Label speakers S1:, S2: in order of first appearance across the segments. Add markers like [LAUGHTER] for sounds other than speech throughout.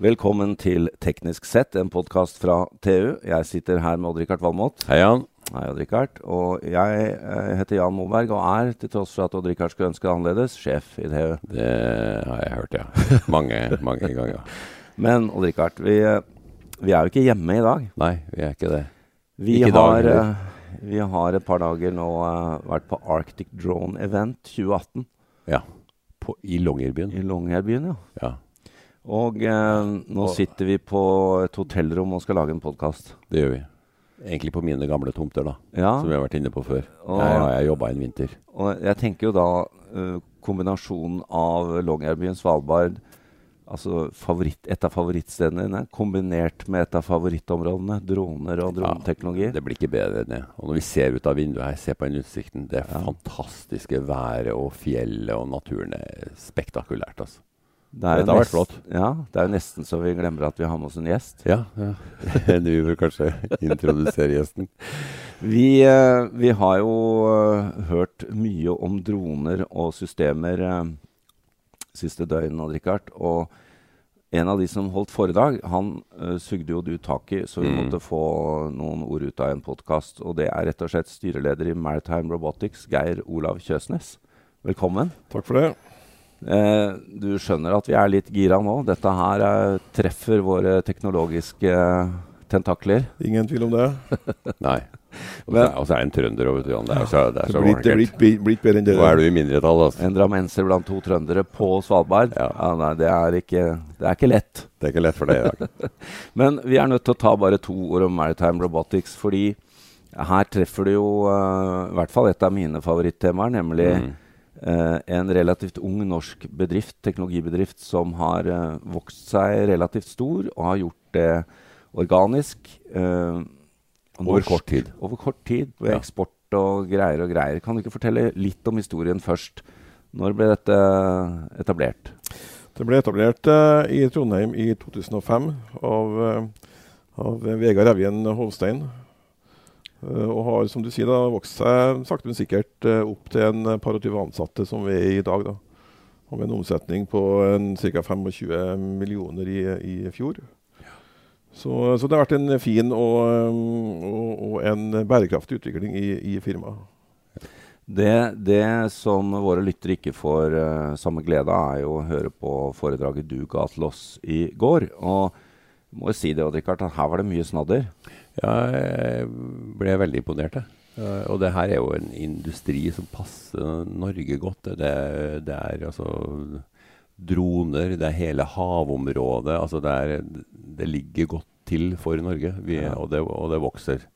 S1: Velkommen til Teknisk sett, en podkast fra TU. Jeg sitter her med Odd-Rikard Valmot.
S2: Hei, Jan.
S1: Hei, Odd-Rikard. Og jeg eh, heter Jan Moberg og er, til tross for at Odd-Rikard skulle ønske det annerledes, sjef i TU.
S2: Det har jeg hørt, ja. Mange, mange ganger.
S1: Men Odd-Rikard, vi, eh, vi er jo ikke hjemme i dag.
S2: Nei, vi er ikke det.
S1: Vi
S2: Ikke i dag
S1: har,
S2: heller.
S1: eh, vi har et par dager nå eh, vært på Arctic Drone Event 2018
S2: Ja. På, I Longyearbyen.
S1: i Longyearbyen, ja.
S2: Ja.
S1: Og eh, nå
S2: Og-
S1: sitter vi på et hotellrom og skal lage en podkast.
S2: Det gjør vi. Egentlig på mine gamle tomter, da.
S1: Ja,
S2: Som vi har vært inne på før.
S1: Å.
S2: Jeg, jeg jobba en vinter.
S1: og jeg tenker jo da eh, kombinasjonen av Longyearbyen, Svalbard, altså favoritt, et av favorittstedene dine, kombinert med et av favorittområdene, droner og
S2: Ja,
S1: droneteknologi.
S2: Det blir ikke bedre enn det. Og når vi ser ut av vinduet her, ser på den utsikten, det fantastiske været og fjellet og naturen er spektakulært, altså.
S1: Det er jo
S2: Dette har vært
S1: nest- Ja, det er jo nesten så vi glemmer at vi har med oss en gjest.
S2: Ja. ja. [LAUGHS] du vil kanskje introdusere gjesten.
S1: Vi, eh, vi har jo eh, hørt mye om droner og systemer eh, siste døgn, Odd Rikard. Og en av de som holdt foredrag, han eh, sugde jo du tak i, så vi
S2: Mm.
S1: måtte få noen ord ut av en podkast. Og det er rett og slett styreleder i Maritime Robotics, Geir Olav Kjøsnes. Velkommen.
S3: Takk for det.
S1: Eh, du skjønner at vi er litt gira nå. Dette her eh, treffer våre teknologiske eh, tentakler.
S3: Ingen tvil om det.
S2: Nei. Og så
S1: Men-
S2: er- og så er det en trønder òg, vet du, Jan. Det er så, det er
S3: Det
S2: så
S3: blir det
S2: vakkert.
S3: blir ikke blir- blir ikke bedre enn det.
S2: Nå er du i mindretall, altså.
S1: En drammenser blant to trøndere på Svalbard. Ja.
S2: Ja.
S1: nei, det er, ikke, det er ikke lett.
S2: Det er ikke lett for deg i dag.
S1: Men vi er nødt til å ta bare to ord om Maritime Robotics, fordi her treffer du jo eh, i hvert fall et av mine favorittemaer, nemlig
S2: Mm.
S1: eh, en relativt ung norsk bedrift, teknologibedrift, som har eh, vokst seg relativt stor og har gjort det organisk. eh, og
S2: Over
S1: norsk-
S2: kort tid.
S1: Over kort tid, ved
S2: Ja.
S1: eksport og greier og greier. Kan du ikke fortelle litt om historien først? Når ble dette etablert?
S3: Det ble etablert eh, i Trondheim i 2005 av, eh, av Vegard Evjen Hovstein. Eh, og har, som du sier, da, vokst seg sakte, men sikkert eh, opp til en eh, par og 20 ansatte som vi er i dag. da. Og med en omsetning på ca. 25 millioner i, i fjor. Så, så det har vært en fin og, eh, og, og en bærekraftig utvikling i, i firmaet.
S1: Det, det som våre lyttere ikke får eh, samme glede av, er jo å høre på foredraget du ga til oss i går. Og jeg må jo si det, Odd Rikard, at her var det mye snadder.
S2: [LAUGHS] Ja, jeg ble veldig imponert, jeg. Eh, Og det her er jo en industri som passer Norge godt. Det, det er altså droner, det er hele havområdet. Altså det, er, det ligger godt til for Norge, vi,
S1: Ja.
S2: og, det, og det vokser.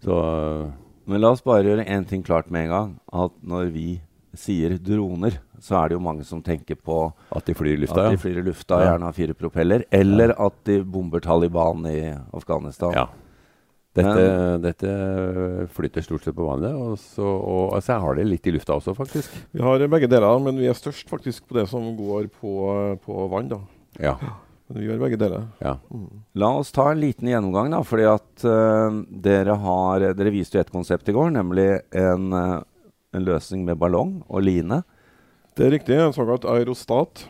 S2: Så eh,
S1: Men la oss bare gjøre én ting klart med en gang. At når vi sier droner, så er det jo mange som tenker på
S2: at de flyr i
S1: at
S2: lufta,
S1: de flyr i lufta,
S2: Ja.
S1: gjerne har fire propeller, eller at de bomber Taliban i Afghanistan.
S2: Ja. Dette,
S1: Men-
S2: dette flyter stort sett på vannet, og så, og, og så har det litt i lufta også, faktisk.
S3: Vi har begge deler, men vi er størst faktisk på det som går på, på vann. da.
S2: Ja,
S3: Men vi gjør begge deler.
S2: ja.
S3: Mm.
S1: La oss ta en liten gjennomgang, da. fordi at eh, dere, har, dere viste jo et konsept i går, nemlig en, eh, en løsning med ballong og line.
S3: Det er riktig. En såkalt aerostat.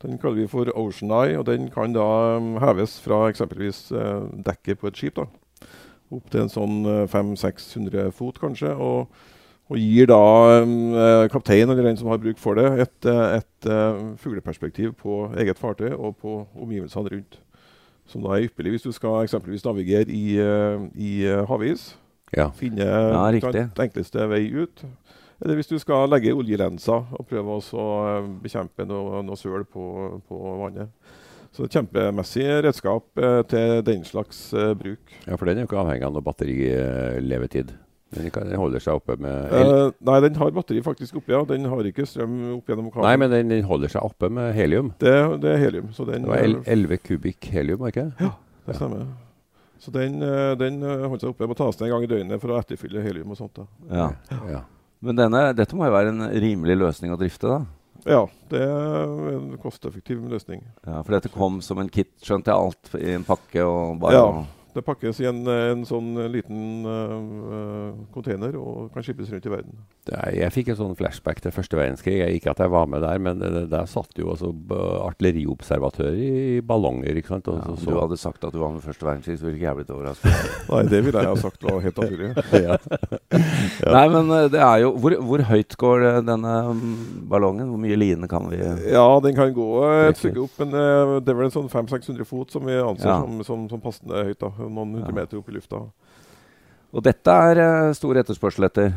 S3: Den kaller vi for Ocean Eye, og den kan da um, heves fra eksempelvis eh, dekket på et skip. da. Opp til en sånn eh, 500-600 fot, kanskje. og og gir da um, eh, kaptein eller den som har bruk for det, et, eh, et eh, fugleperspektiv på eget fartøy og på omgivelsene rundt. Som da er ypperlig hvis du skal eksempelvis navigere i, eh, i eh, havis.
S2: ja.
S3: finne
S1: Ja, riktig.
S3: den enkleste vei ut. Eller hvis du skal legge oljelenser og prøve også å eh, bekjempe noe, noe søl på, på vannet. Så et kjempemessig redskap eh, til den slags eh, bruk.
S2: Ja, for den er jo ikke avhengig av noe batterilevetid. Den, kan, den holder seg oppe med el
S3: Eh, nei, den har batteri faktisk oppi, ja. Den har ikke strøm opp gjennom kabelen.
S2: Nei, men den, den holder seg oppe med helium.
S3: det, det er helium, så den
S2: Det var el
S3: eh,
S2: 11 kubikk helium, var det ikke?
S3: det stemmer. Så den, eh, den eh, holder seg oppe. Må tas ned en gang i døgnet for å etterfylle helium og sånt. da.
S1: Ja.
S2: ja.
S1: Men denne, dette må jo være en rimelig løsning å drifte, da?
S3: Ja, det er en kosteffektiv løsning.
S1: Ja, For dette kom som en kit, skjønte jeg, alt i en pakke og bare
S3: Ja. Det pakkes i en, en sånn liten eh, container og kan skippes rundt i verden.
S2: Det er, jeg fikk en sånn flashback til første verdenskrig. Jeg, ikke at jeg var med der, men eh, der satt jo altså b- artilleriobservatører i ballonger. ikke sant? Og
S1: Ja,
S2: så-
S1: om
S2: så-
S1: du hadde sagt at du var med første verdenskrig, så ville ikke jeg blitt overraska.
S2: [LAUGHS]
S3: Nei, det ville jeg ha sagt var helt naturlig.
S2: ja.
S1: Nei, men eh, det er jo Hvor, hvor høyt går eh, denne mm, ballongen? Hvor mye line kan vi
S3: [LAUGHS] Ja, den kan gå eh, et
S1: Riktig.
S3: stykke opp, men eh, det er vel en sånn 500-600 fot som vi anser
S1: Ja.
S3: som, som, som passende høyt. da, Noen hundre
S1: Ja.
S3: meter opp i lufta.
S1: Og dette er eh, stor etterspørsel etter.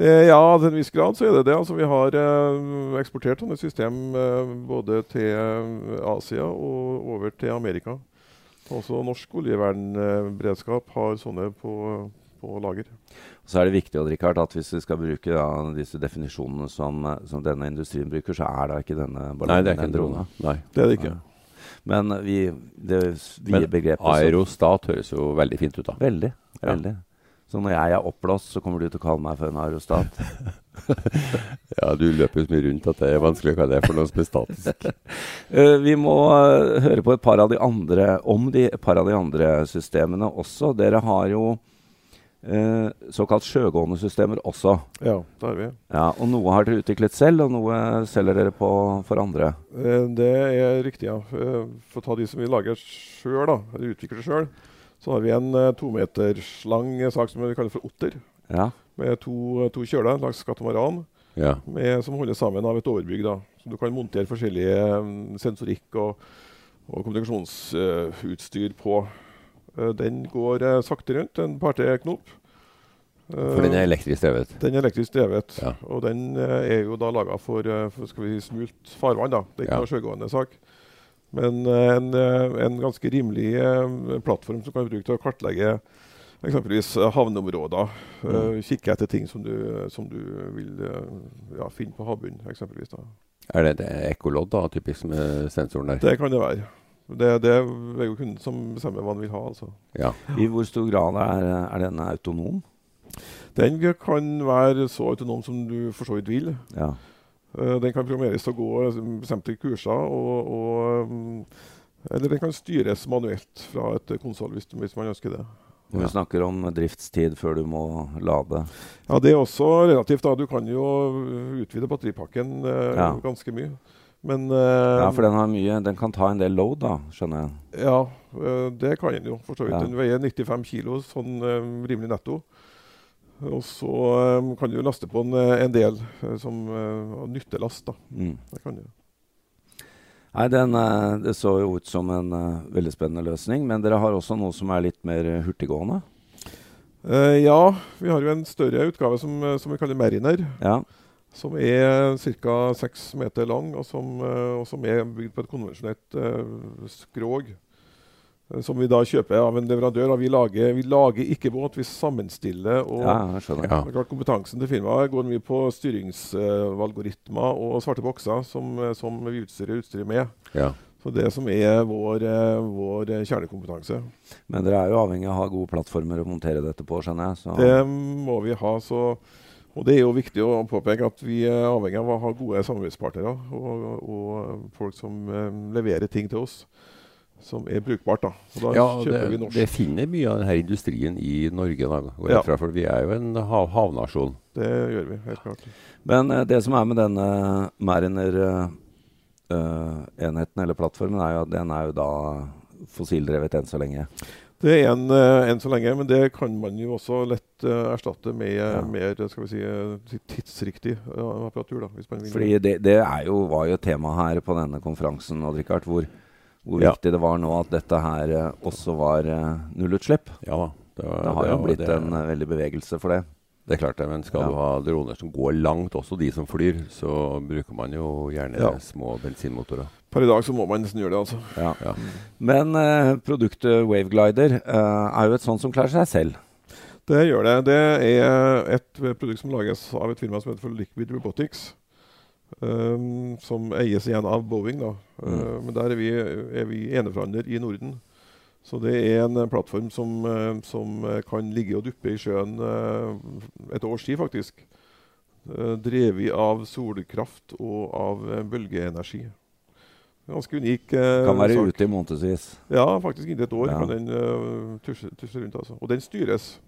S3: Eh, ja, til en viss grad så er det det. Altså, vi har eh, eksportert sånne system eh, både til eh, Asia og over til Amerika. Også norsk oljevernberedskap har sånne på, på lager.
S1: Så er det viktig å Richard, at hvis vi skal bruke da, disse definisjonene som, eh, som denne industrien bruker, så er da ikke denne
S2: Nei,
S1: ballongen
S2: det er ikke en drone. Nei.
S3: Det er det ikke.
S1: Nei. Men eh, vi, det s-
S2: Men
S1: vide begrepet så-
S2: Aerostat høres jo veldig fint ut, da.
S1: Veldig.
S2: Ja.
S1: veldig. Så når jeg er oppblåst, så kommer du til å kalle meg for en aerostat.
S2: [LAUGHS] Ja, Du løper jo så mye rundt at det er vanskelig å kalle det for noe som er statisk.
S1: Eh, vi må eh, høre på et par av de andre om de et par av de andre systemene også. Dere har jo eh, såkalt sjøgående systemer også.
S3: Ja, det har vi.
S1: Ja, og noe har dere utviklet selv, og noe selger dere på for andre.
S3: Eh, Det er riktig, ja. Eh, For å ta de som vi lager sjøl, da, eller utvikler sjøl, så har vi en eh, tometerslang eh, sak som vi kaller for otter.
S1: Ja,
S3: Med to, to kjøler langs katamaran
S2: Ja.
S3: med, som holdes sammen av et overbygg. da. Så du kan montere forskjellige eh, sensorikk og, og kommunikasjonsutstyr på. Eh, Den går eh, sakte rundt, en par-tre knop. Eh,
S2: For den er elektrisk drevet.
S3: Den er elektrisk drevet,
S2: Ja.
S3: og den eh, er jo da laga for, eh, for skal vi si, smult farvann. da. Det er ikke
S2: Ja.
S3: noe sjøgående sak. Men eh, en, eh, en ganske rimelig eh, plattform som kan brukes til å kartlegge eksempelvis eh, havneområder.
S2: Mm.
S3: eh, Kikke etter ting som du, som du vil eh, ja, finne på havbunnen, eksempelvis. da.
S2: Er det et ekkolodd, da, typisk med sensoren der?
S3: Det kan det være. Det, det er jo kunden som bestemmer hva han vil ha. altså.
S2: Ja.
S1: I hvor stor grad er, er denne autonom?
S3: Den kan være så autonom som du for så vidt vil.
S1: Ja.
S3: Eh, Den kan programmeres til å gå eh, bestemte kurser, og, og mm, eller den kan styres manuelt fra et eh, konsoll hvis, hvis man ønsker det.
S1: Og vi
S2: Ja.
S1: snakker om driftstid før du må lade.
S3: Ja, Det er også relativt. da. Du kan jo eh, utvide batteripakken eh,
S1: Ja.
S3: ganske mye. Men
S1: Ja,
S2: Um,
S3: eh,
S1: For den har mye Den kan ta en del load, da, skjønner jeg.
S3: ja, eh, det kan den jo, for så vidt.
S1: Ja.
S3: Den veier 95 kilo, sånn eh, rimelig netto. Og så eh, kan du jo laste på en, eh, en del eh, som eh, nyttelast. da.
S1: Mm.
S3: Det kan du.
S1: Nei, den, eh, Det så jo ut som en eh, veldig spennende løsning, men dere har også noe som er litt mer eh, hurtiggående.
S3: Eh, ja, vi har jo en større utgave som, eh, som vi kaller Mariner.
S1: Ja,
S3: som er ca. seks meter lang, og som, eh, og som er bygd på et konvensjonelt eh, skrog. eh, Som vi da kjøper av en leverandør. Og vi lager, vi lager ikke båt, vi sammenstiller. og
S1: ja jeg skjønner.
S2: ja.
S3: det er klart Kompetansen til firmaet går mye på styringsalgoritmer og svarte bokser, som, eh, som vi utstyrer utstyret med.
S2: ja.
S3: Så det som er vår, eh, vår eh, kjernekompetanse.
S1: Men dere er jo avhengig av å ha gode plattformer å montere dette på, skjønner jeg. Så.
S2: Um,
S3: Det må vi ha. Så, og det er jo viktig å påpeke at vi er avhengig av å ha gode samarbeidspartnere og, og folk som eh, leverer ting til oss som er brukbart. Da, og da
S2: ja
S3: kjøper
S2: det,
S3: vi norsk.
S2: det finner mye av denne industrien i Norge, da, går
S3: Ja.
S2: jeg fra, for vi er jo en hav havnasjon.
S3: Det gjør vi, helt klart.
S1: Men eh, det som er med denne Mariner-enheten, eller plattformen, er jo at den er jo da fossildrevet enn så lenge.
S3: Det er en, eh, enn så lenge, men det kan man jo også lett eh, erstatte med eh,
S1: Ja.
S3: mer skal vi si, eh, tidsriktig ja, apparatur. da, hvis man vil.
S1: Fordi det, det er jo, var jo tema her på denne konferansen, Odd-Rikard, hvor, hvor
S2: Ja.
S1: viktig det var nå at dette her eh, også var eh, nullutslipp.
S2: Ja da. Det,
S1: Det har jo
S2: det-
S1: blitt
S2: det-
S1: en eh, veldig bevegelse for det.
S2: Det er klart det, men skal
S1: Ja.
S2: du ha droner som går langt, også de som flyr, så bruker man jo gjerne
S3: Ja.
S2: små bensinmotorer.
S3: Per i dag så må man nesten gjøre det, altså.
S1: Ja.
S2: Ja.
S1: Men eh, produktet Waveglider eh, er jo et sånt som klarer seg selv.
S3: Det gjør det. Det er et produkt som lages av et firma som heter for Liquid Robotics. ehm, som eies igjen av Boeing. da.
S1: Mm.
S3: Eh, men der er vi, er vi eneforhandler i Norden. Så det er en eh, plattform som, eh, som eh, kan ligge og duppe i sjøen eh, et års tid, faktisk. Eh, drevet av solkraft og av eh, bølgeenergi. Ganske unik eh,
S1: Kan være
S3: sak.
S1: ute i månedsvis.
S3: Ja, faktisk inntil et år
S1: Ja.
S3: kan den eh, tusje, tusje rundt. altså. Og den styres.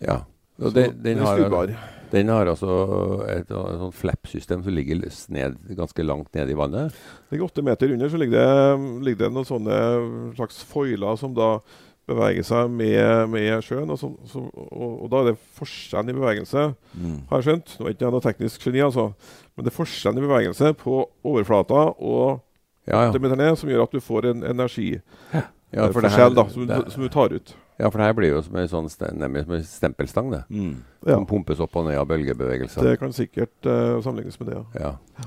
S2: Ja. Og
S3: Så
S2: den, den,
S3: er
S2: har,
S3: stubar.
S2: den har altså et, et sånt flap-system som ligger sned, ganske langt nede i vannet.
S3: Ligger åtte meter under, så ligger det, ligger det noen sånne slags foiler som da beveger seg med, med sjøen. Og, som, som, og, og da er det forskjellen i bevegelse,
S1: Mm.
S3: har jeg skjønt. Nå er ikke jeg noe teknisk geni, altså. Men det er forskjellen i bevegelse på overflata og
S2: Ja, ja.
S3: åtte meter ned som gjør at du får en energiforskjell
S2: ja for det her,
S3: da, som, du-
S2: det-
S3: som du tar ut.
S2: ja, for det her blir jo som en sånn ste- nærmest som en stempelstang, det.
S1: Mm.
S3: Ja,
S2: Som pumpes opp og ned av bølgebevegelser.
S3: det kan sikkert eh, sammenlignes med det. ja.
S2: Ja.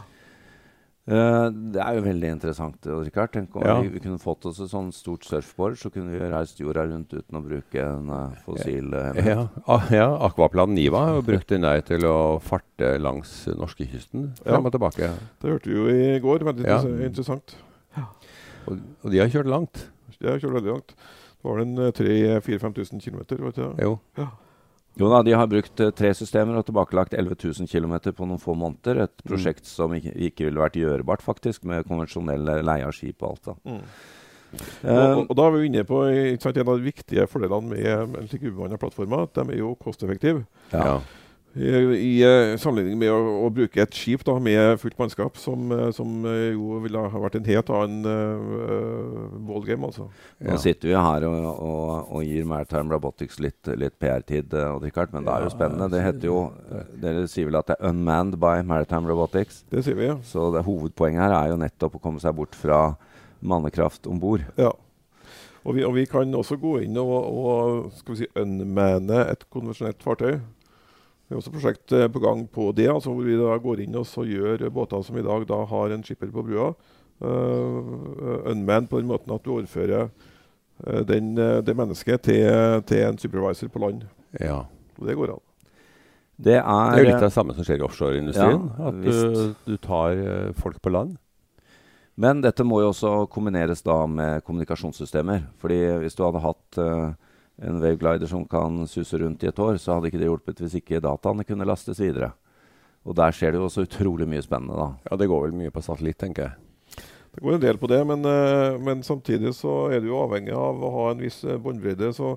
S1: Eh, det er jo veldig interessant. eh, Richard. Tenk om
S2: Ja.
S1: vi, vi kunne fått oss et sånt stort surfboard, så kunne vi reist jorda rundt uten å bruke en eh, fossil eh,
S2: Ja, a- ja, Aquaplan Niva har jo brukt den der til å farte langs norskekysten frem og tilbake.
S3: Det hørte vi jo i går. Veldig
S2: Ja.
S3: interess- interessant.
S2: Og, og de har kjørt langt.
S3: Det har kjørt veldig langt. Da var den eh, 3000-5000 km, vet du.
S2: Jo.
S1: Jo da, de har brukt eh, tre systemer og tilbakelagt 11 000 km på noen få måneder. Et
S2: Mm.
S1: prosjekt som ikke, ikke ville vært gjørbart, faktisk, med konvensjonell eh, leie av skip og alt. da.
S3: Mm. Og,
S1: Eh,
S3: og- og da er vi jo inne på ikke sant, en av de viktige fordelene med med slike ubemannede plattformer. at De er jo kosteffektive.
S1: Eh, Ja.
S2: Ja.
S3: I, i eh, sammenligning med å, å bruke et skip da, med fullt mannskap, som, eh, som eh, jo ville ha vært en helt annen uh, ballgame, altså.
S1: Nå
S2: Ja.
S1: sitter vi her og, og, og gir Maritime Robotics litt, litt PR-tid, eh, Odd Rikard, men det er jo spennende. Det heter jo, Dere sier vel at det er 'Unmanned by Maritime Robotics'?
S3: Det sier vi.
S1: Så det, hovedpoenget her er jo nettopp å komme seg bort fra mannekraft om bord.
S3: Ja. Og vi, og vi kan også gå inn og, og skal vi si, unmanne et konvensjonelt fartøy. Det er også prosjekt eh, på gang på det, altså hvor vi da går inn og så gjør båter som i dag da har en skipper på brua, eh, unmanned på den måten at du overfører eh, den, eh, det mennesket til, til en supervisor på land.
S2: ja.
S3: Og det går an.
S1: Det
S2: Det er
S1: er,
S2: jo litt av det samme som skjer i offshoreindustrien.
S1: Ja,
S2: at du,
S1: visst.
S2: du tar eh, folk på land.
S1: Men dette må jo også kombineres da med kommunikasjonssystemer. Fordi hvis du hadde hatt eh, en waveglider som kan suse rundt i et år, så hadde ikke det hjulpet hvis ikke dataene kunne lastes videre. Og der skjer det jo også utrolig mye spennende, da.
S2: Ja, Det går vel mye på satellitt, tenker jeg.
S3: Det går en del på det, men, eh, men samtidig så er du jo avhengig av å ha en viss eh, båndbredde. Så,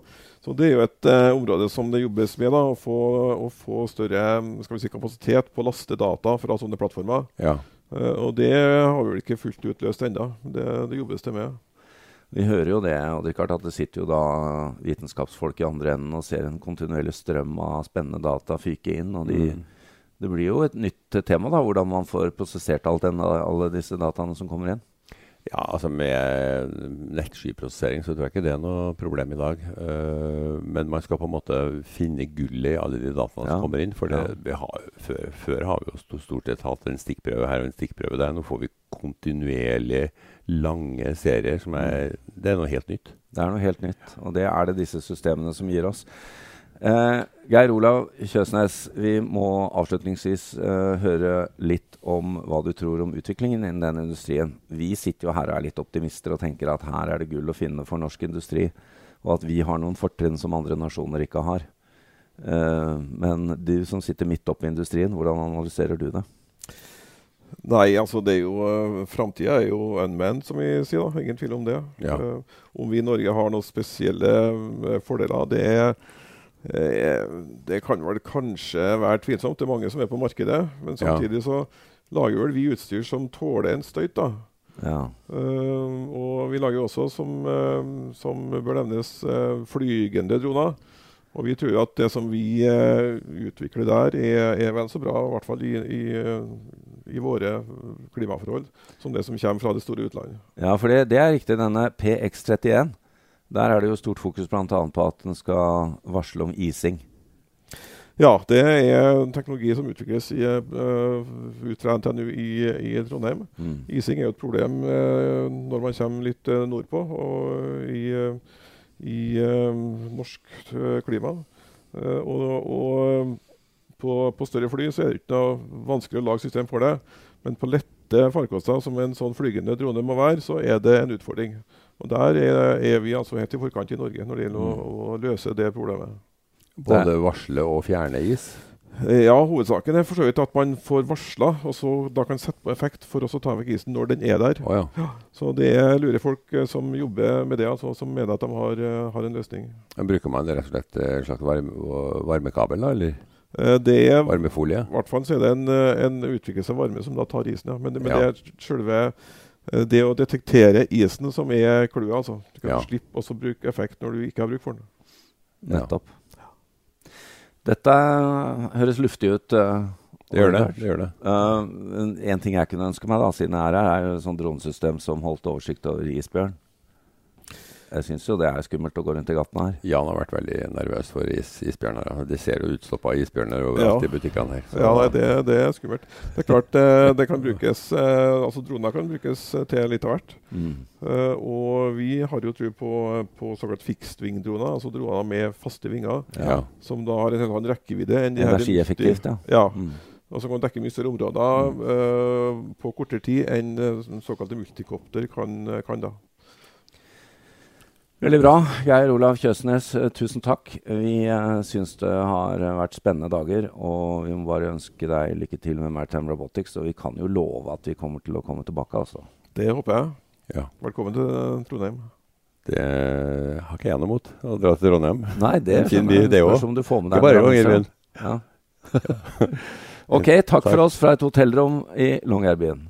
S3: så det er jo et eh, område som det jobbes med, da, å få, å få større mm, skal vi si, kapasitet på å laste data fra sånne plattformer.
S2: Ja.
S3: Eh, og det har vi vel ikke fullt utløst ennå. Det, det jobbes det med.
S1: Vi hører jo det, og det er klart at det sitter jo da vitenskapsfolk i andre enden og ser en kontinuerlig strøm av spennende data fyke inn. og de...
S2: Mm.
S1: Det blir jo et nytt eh, tema, da, hvordan man får prosessert alt den, alle disse dataene som kommer inn.
S2: Ja, altså Med nettskyprosessering så tror jeg ikke det er noe problem i dag. Eh, men man skal på en måte finne gullet i alle de dataene
S1: Ja.
S2: som kommer inn. For det,
S1: Ja.
S2: vi har, før, før har vi jo sto- stort sett hatt en stikkprøve her og en stikkprøve der. Nå får vi kontinuerlig lange serier som er Det er noe helt nytt.
S1: Det er noe helt nytt, og det er det disse systemene som gir oss. Eh, Geir Olav Kjøsnes, vi må avslutningsvis eh, høre litt om hva du tror om utviklingen innen den industrien. Vi sitter jo her og er litt optimister og tenker at her er det gull å finne for norsk industri, og at vi har noen fortrinn som andre nasjoner ikke har. Eh, men du som sitter midt oppe i industrien, hvordan analyserer du det?
S3: Nei, altså det er jo Framtida er jo unmanned, som vi sier. da, Ingen tvil om det.
S2: Ja.
S3: Eh, om vi i Norge har noen spesielle eh, fordeler, det, eh, det kan vel kanskje være tvilsomt. Det er mange som er på markedet.
S2: Ja.
S3: Men samtidig så lager vel vi utstyr som tåler en støyt, da.
S1: Ja.
S3: Eh, og vi lager jo også, som, eh, som bør nevnes, eh, flygende droner. Og vi tror at det som vi eh, utvikler der, er, er vel så bra, i hvert fall i, i, eh, i våre klimaforhold, som det som kommer fra det store utlandet.
S1: Ja, for det, det er riktig. Denne PX31, der er det jo stort fokus bl.a. på at den skal varsle om ising.
S3: Ja, det er en teknologi som utvikles i, eh, ut fra NTNU i, i Trondheim.
S1: Mm,
S3: Ising er jo et problem eh, når man kommer litt eh, nordpå og i, eh, i eh, norsk eh, klima. Eh, og og eh, på, på større fly så er det ikke noe vanskelig å lage system for det. Men på lette farkoster, som en sånn flygende drone må være, så er det en utfordring. Og Der er, er vi altså helt i forkant i Norge når det gjelder å, å løse det problemet.
S2: Både varsle og fjerne is.
S3: Eh, Ja, hovedsaken er for så vidt at man får varsla, og så da kan sette på effekt for også å ta vekk isen når den er der.
S2: Å ja.
S3: Så det er lure folk eh, som jobber med det, altså, som mener at de har, eh, har en løsning.
S2: Men Bruker man rett og slett eh, en slags varme, og- varmekabel, da? Eller
S3: Eh, Det er i
S2: varmefolie?
S3: hvert fall så er det en, eh, en utviklelse av varme som da tar isen, ja. Men, men
S2: Ja.
S3: det er selve eh, det å detektere isen som er clouet, altså. Du kan
S2: Ja.
S3: slippe også å bruke effekt når du ikke har bruk for den.
S2: Ja.
S1: Nettopp. Dette høres luftig ut. eh,
S2: Det gjør det.
S1: Oliver.
S2: det, gjør det.
S1: Eh, men en ting jeg kunne ønske meg, da, siden jeg er her, er jo et sånt dronesystem som holdt oversikt over isbjørn. Jeg syns jo det er skummelt å gå rundt i gatene her.
S2: Jan har vært veldig nervøs for is, isbjørner. ja. Det ser jo utstoppa isbjørner overalt
S3: Ja.
S2: i butikkene her. Så-
S3: Ja, nei, det, det er skummelt. Det er klart eh, det kan brukes eh, Altså droner kan brukes eh, til litt av hvert.
S2: Mm.
S3: Eh, og vi har jo tro på, på såkalt fixed-wing-droner, altså droner med faste vinger,
S2: ja.
S3: som da har en helt annen rekkevidde enn de her
S1: Energieffektivt, ja.
S3: Ja,
S1: Mm.
S3: og som kan dekke mye større områder eh, på kortere tid enn eh, såkalte multikopter kan, eh, kan da.
S1: Veldig bra. Geir Olav Kjøsnes, eh, tusen takk. Vi uh, syns det har eh, vært spennende dager, og vi må bare ønske deg lykke til med Maritime Robotics. Og vi kan jo love at vi kommer til å komme tilbake, altså.
S3: Det håper jeg.
S2: Ja.
S3: Velkommen til eh, Trondheim.
S2: Det har ikke jeg noe mot, å dra til Trondheim.
S1: Nei, det,
S2: En fin by, det
S1: spørs
S2: også.
S1: om du får med
S2: Det
S1: deg
S2: er bare
S1: en
S2: å
S1: bransje.
S2: Irvin.
S1: [LAUGHS] Ja. ok, takk for oss fra et hotellrom i Longyearbyen.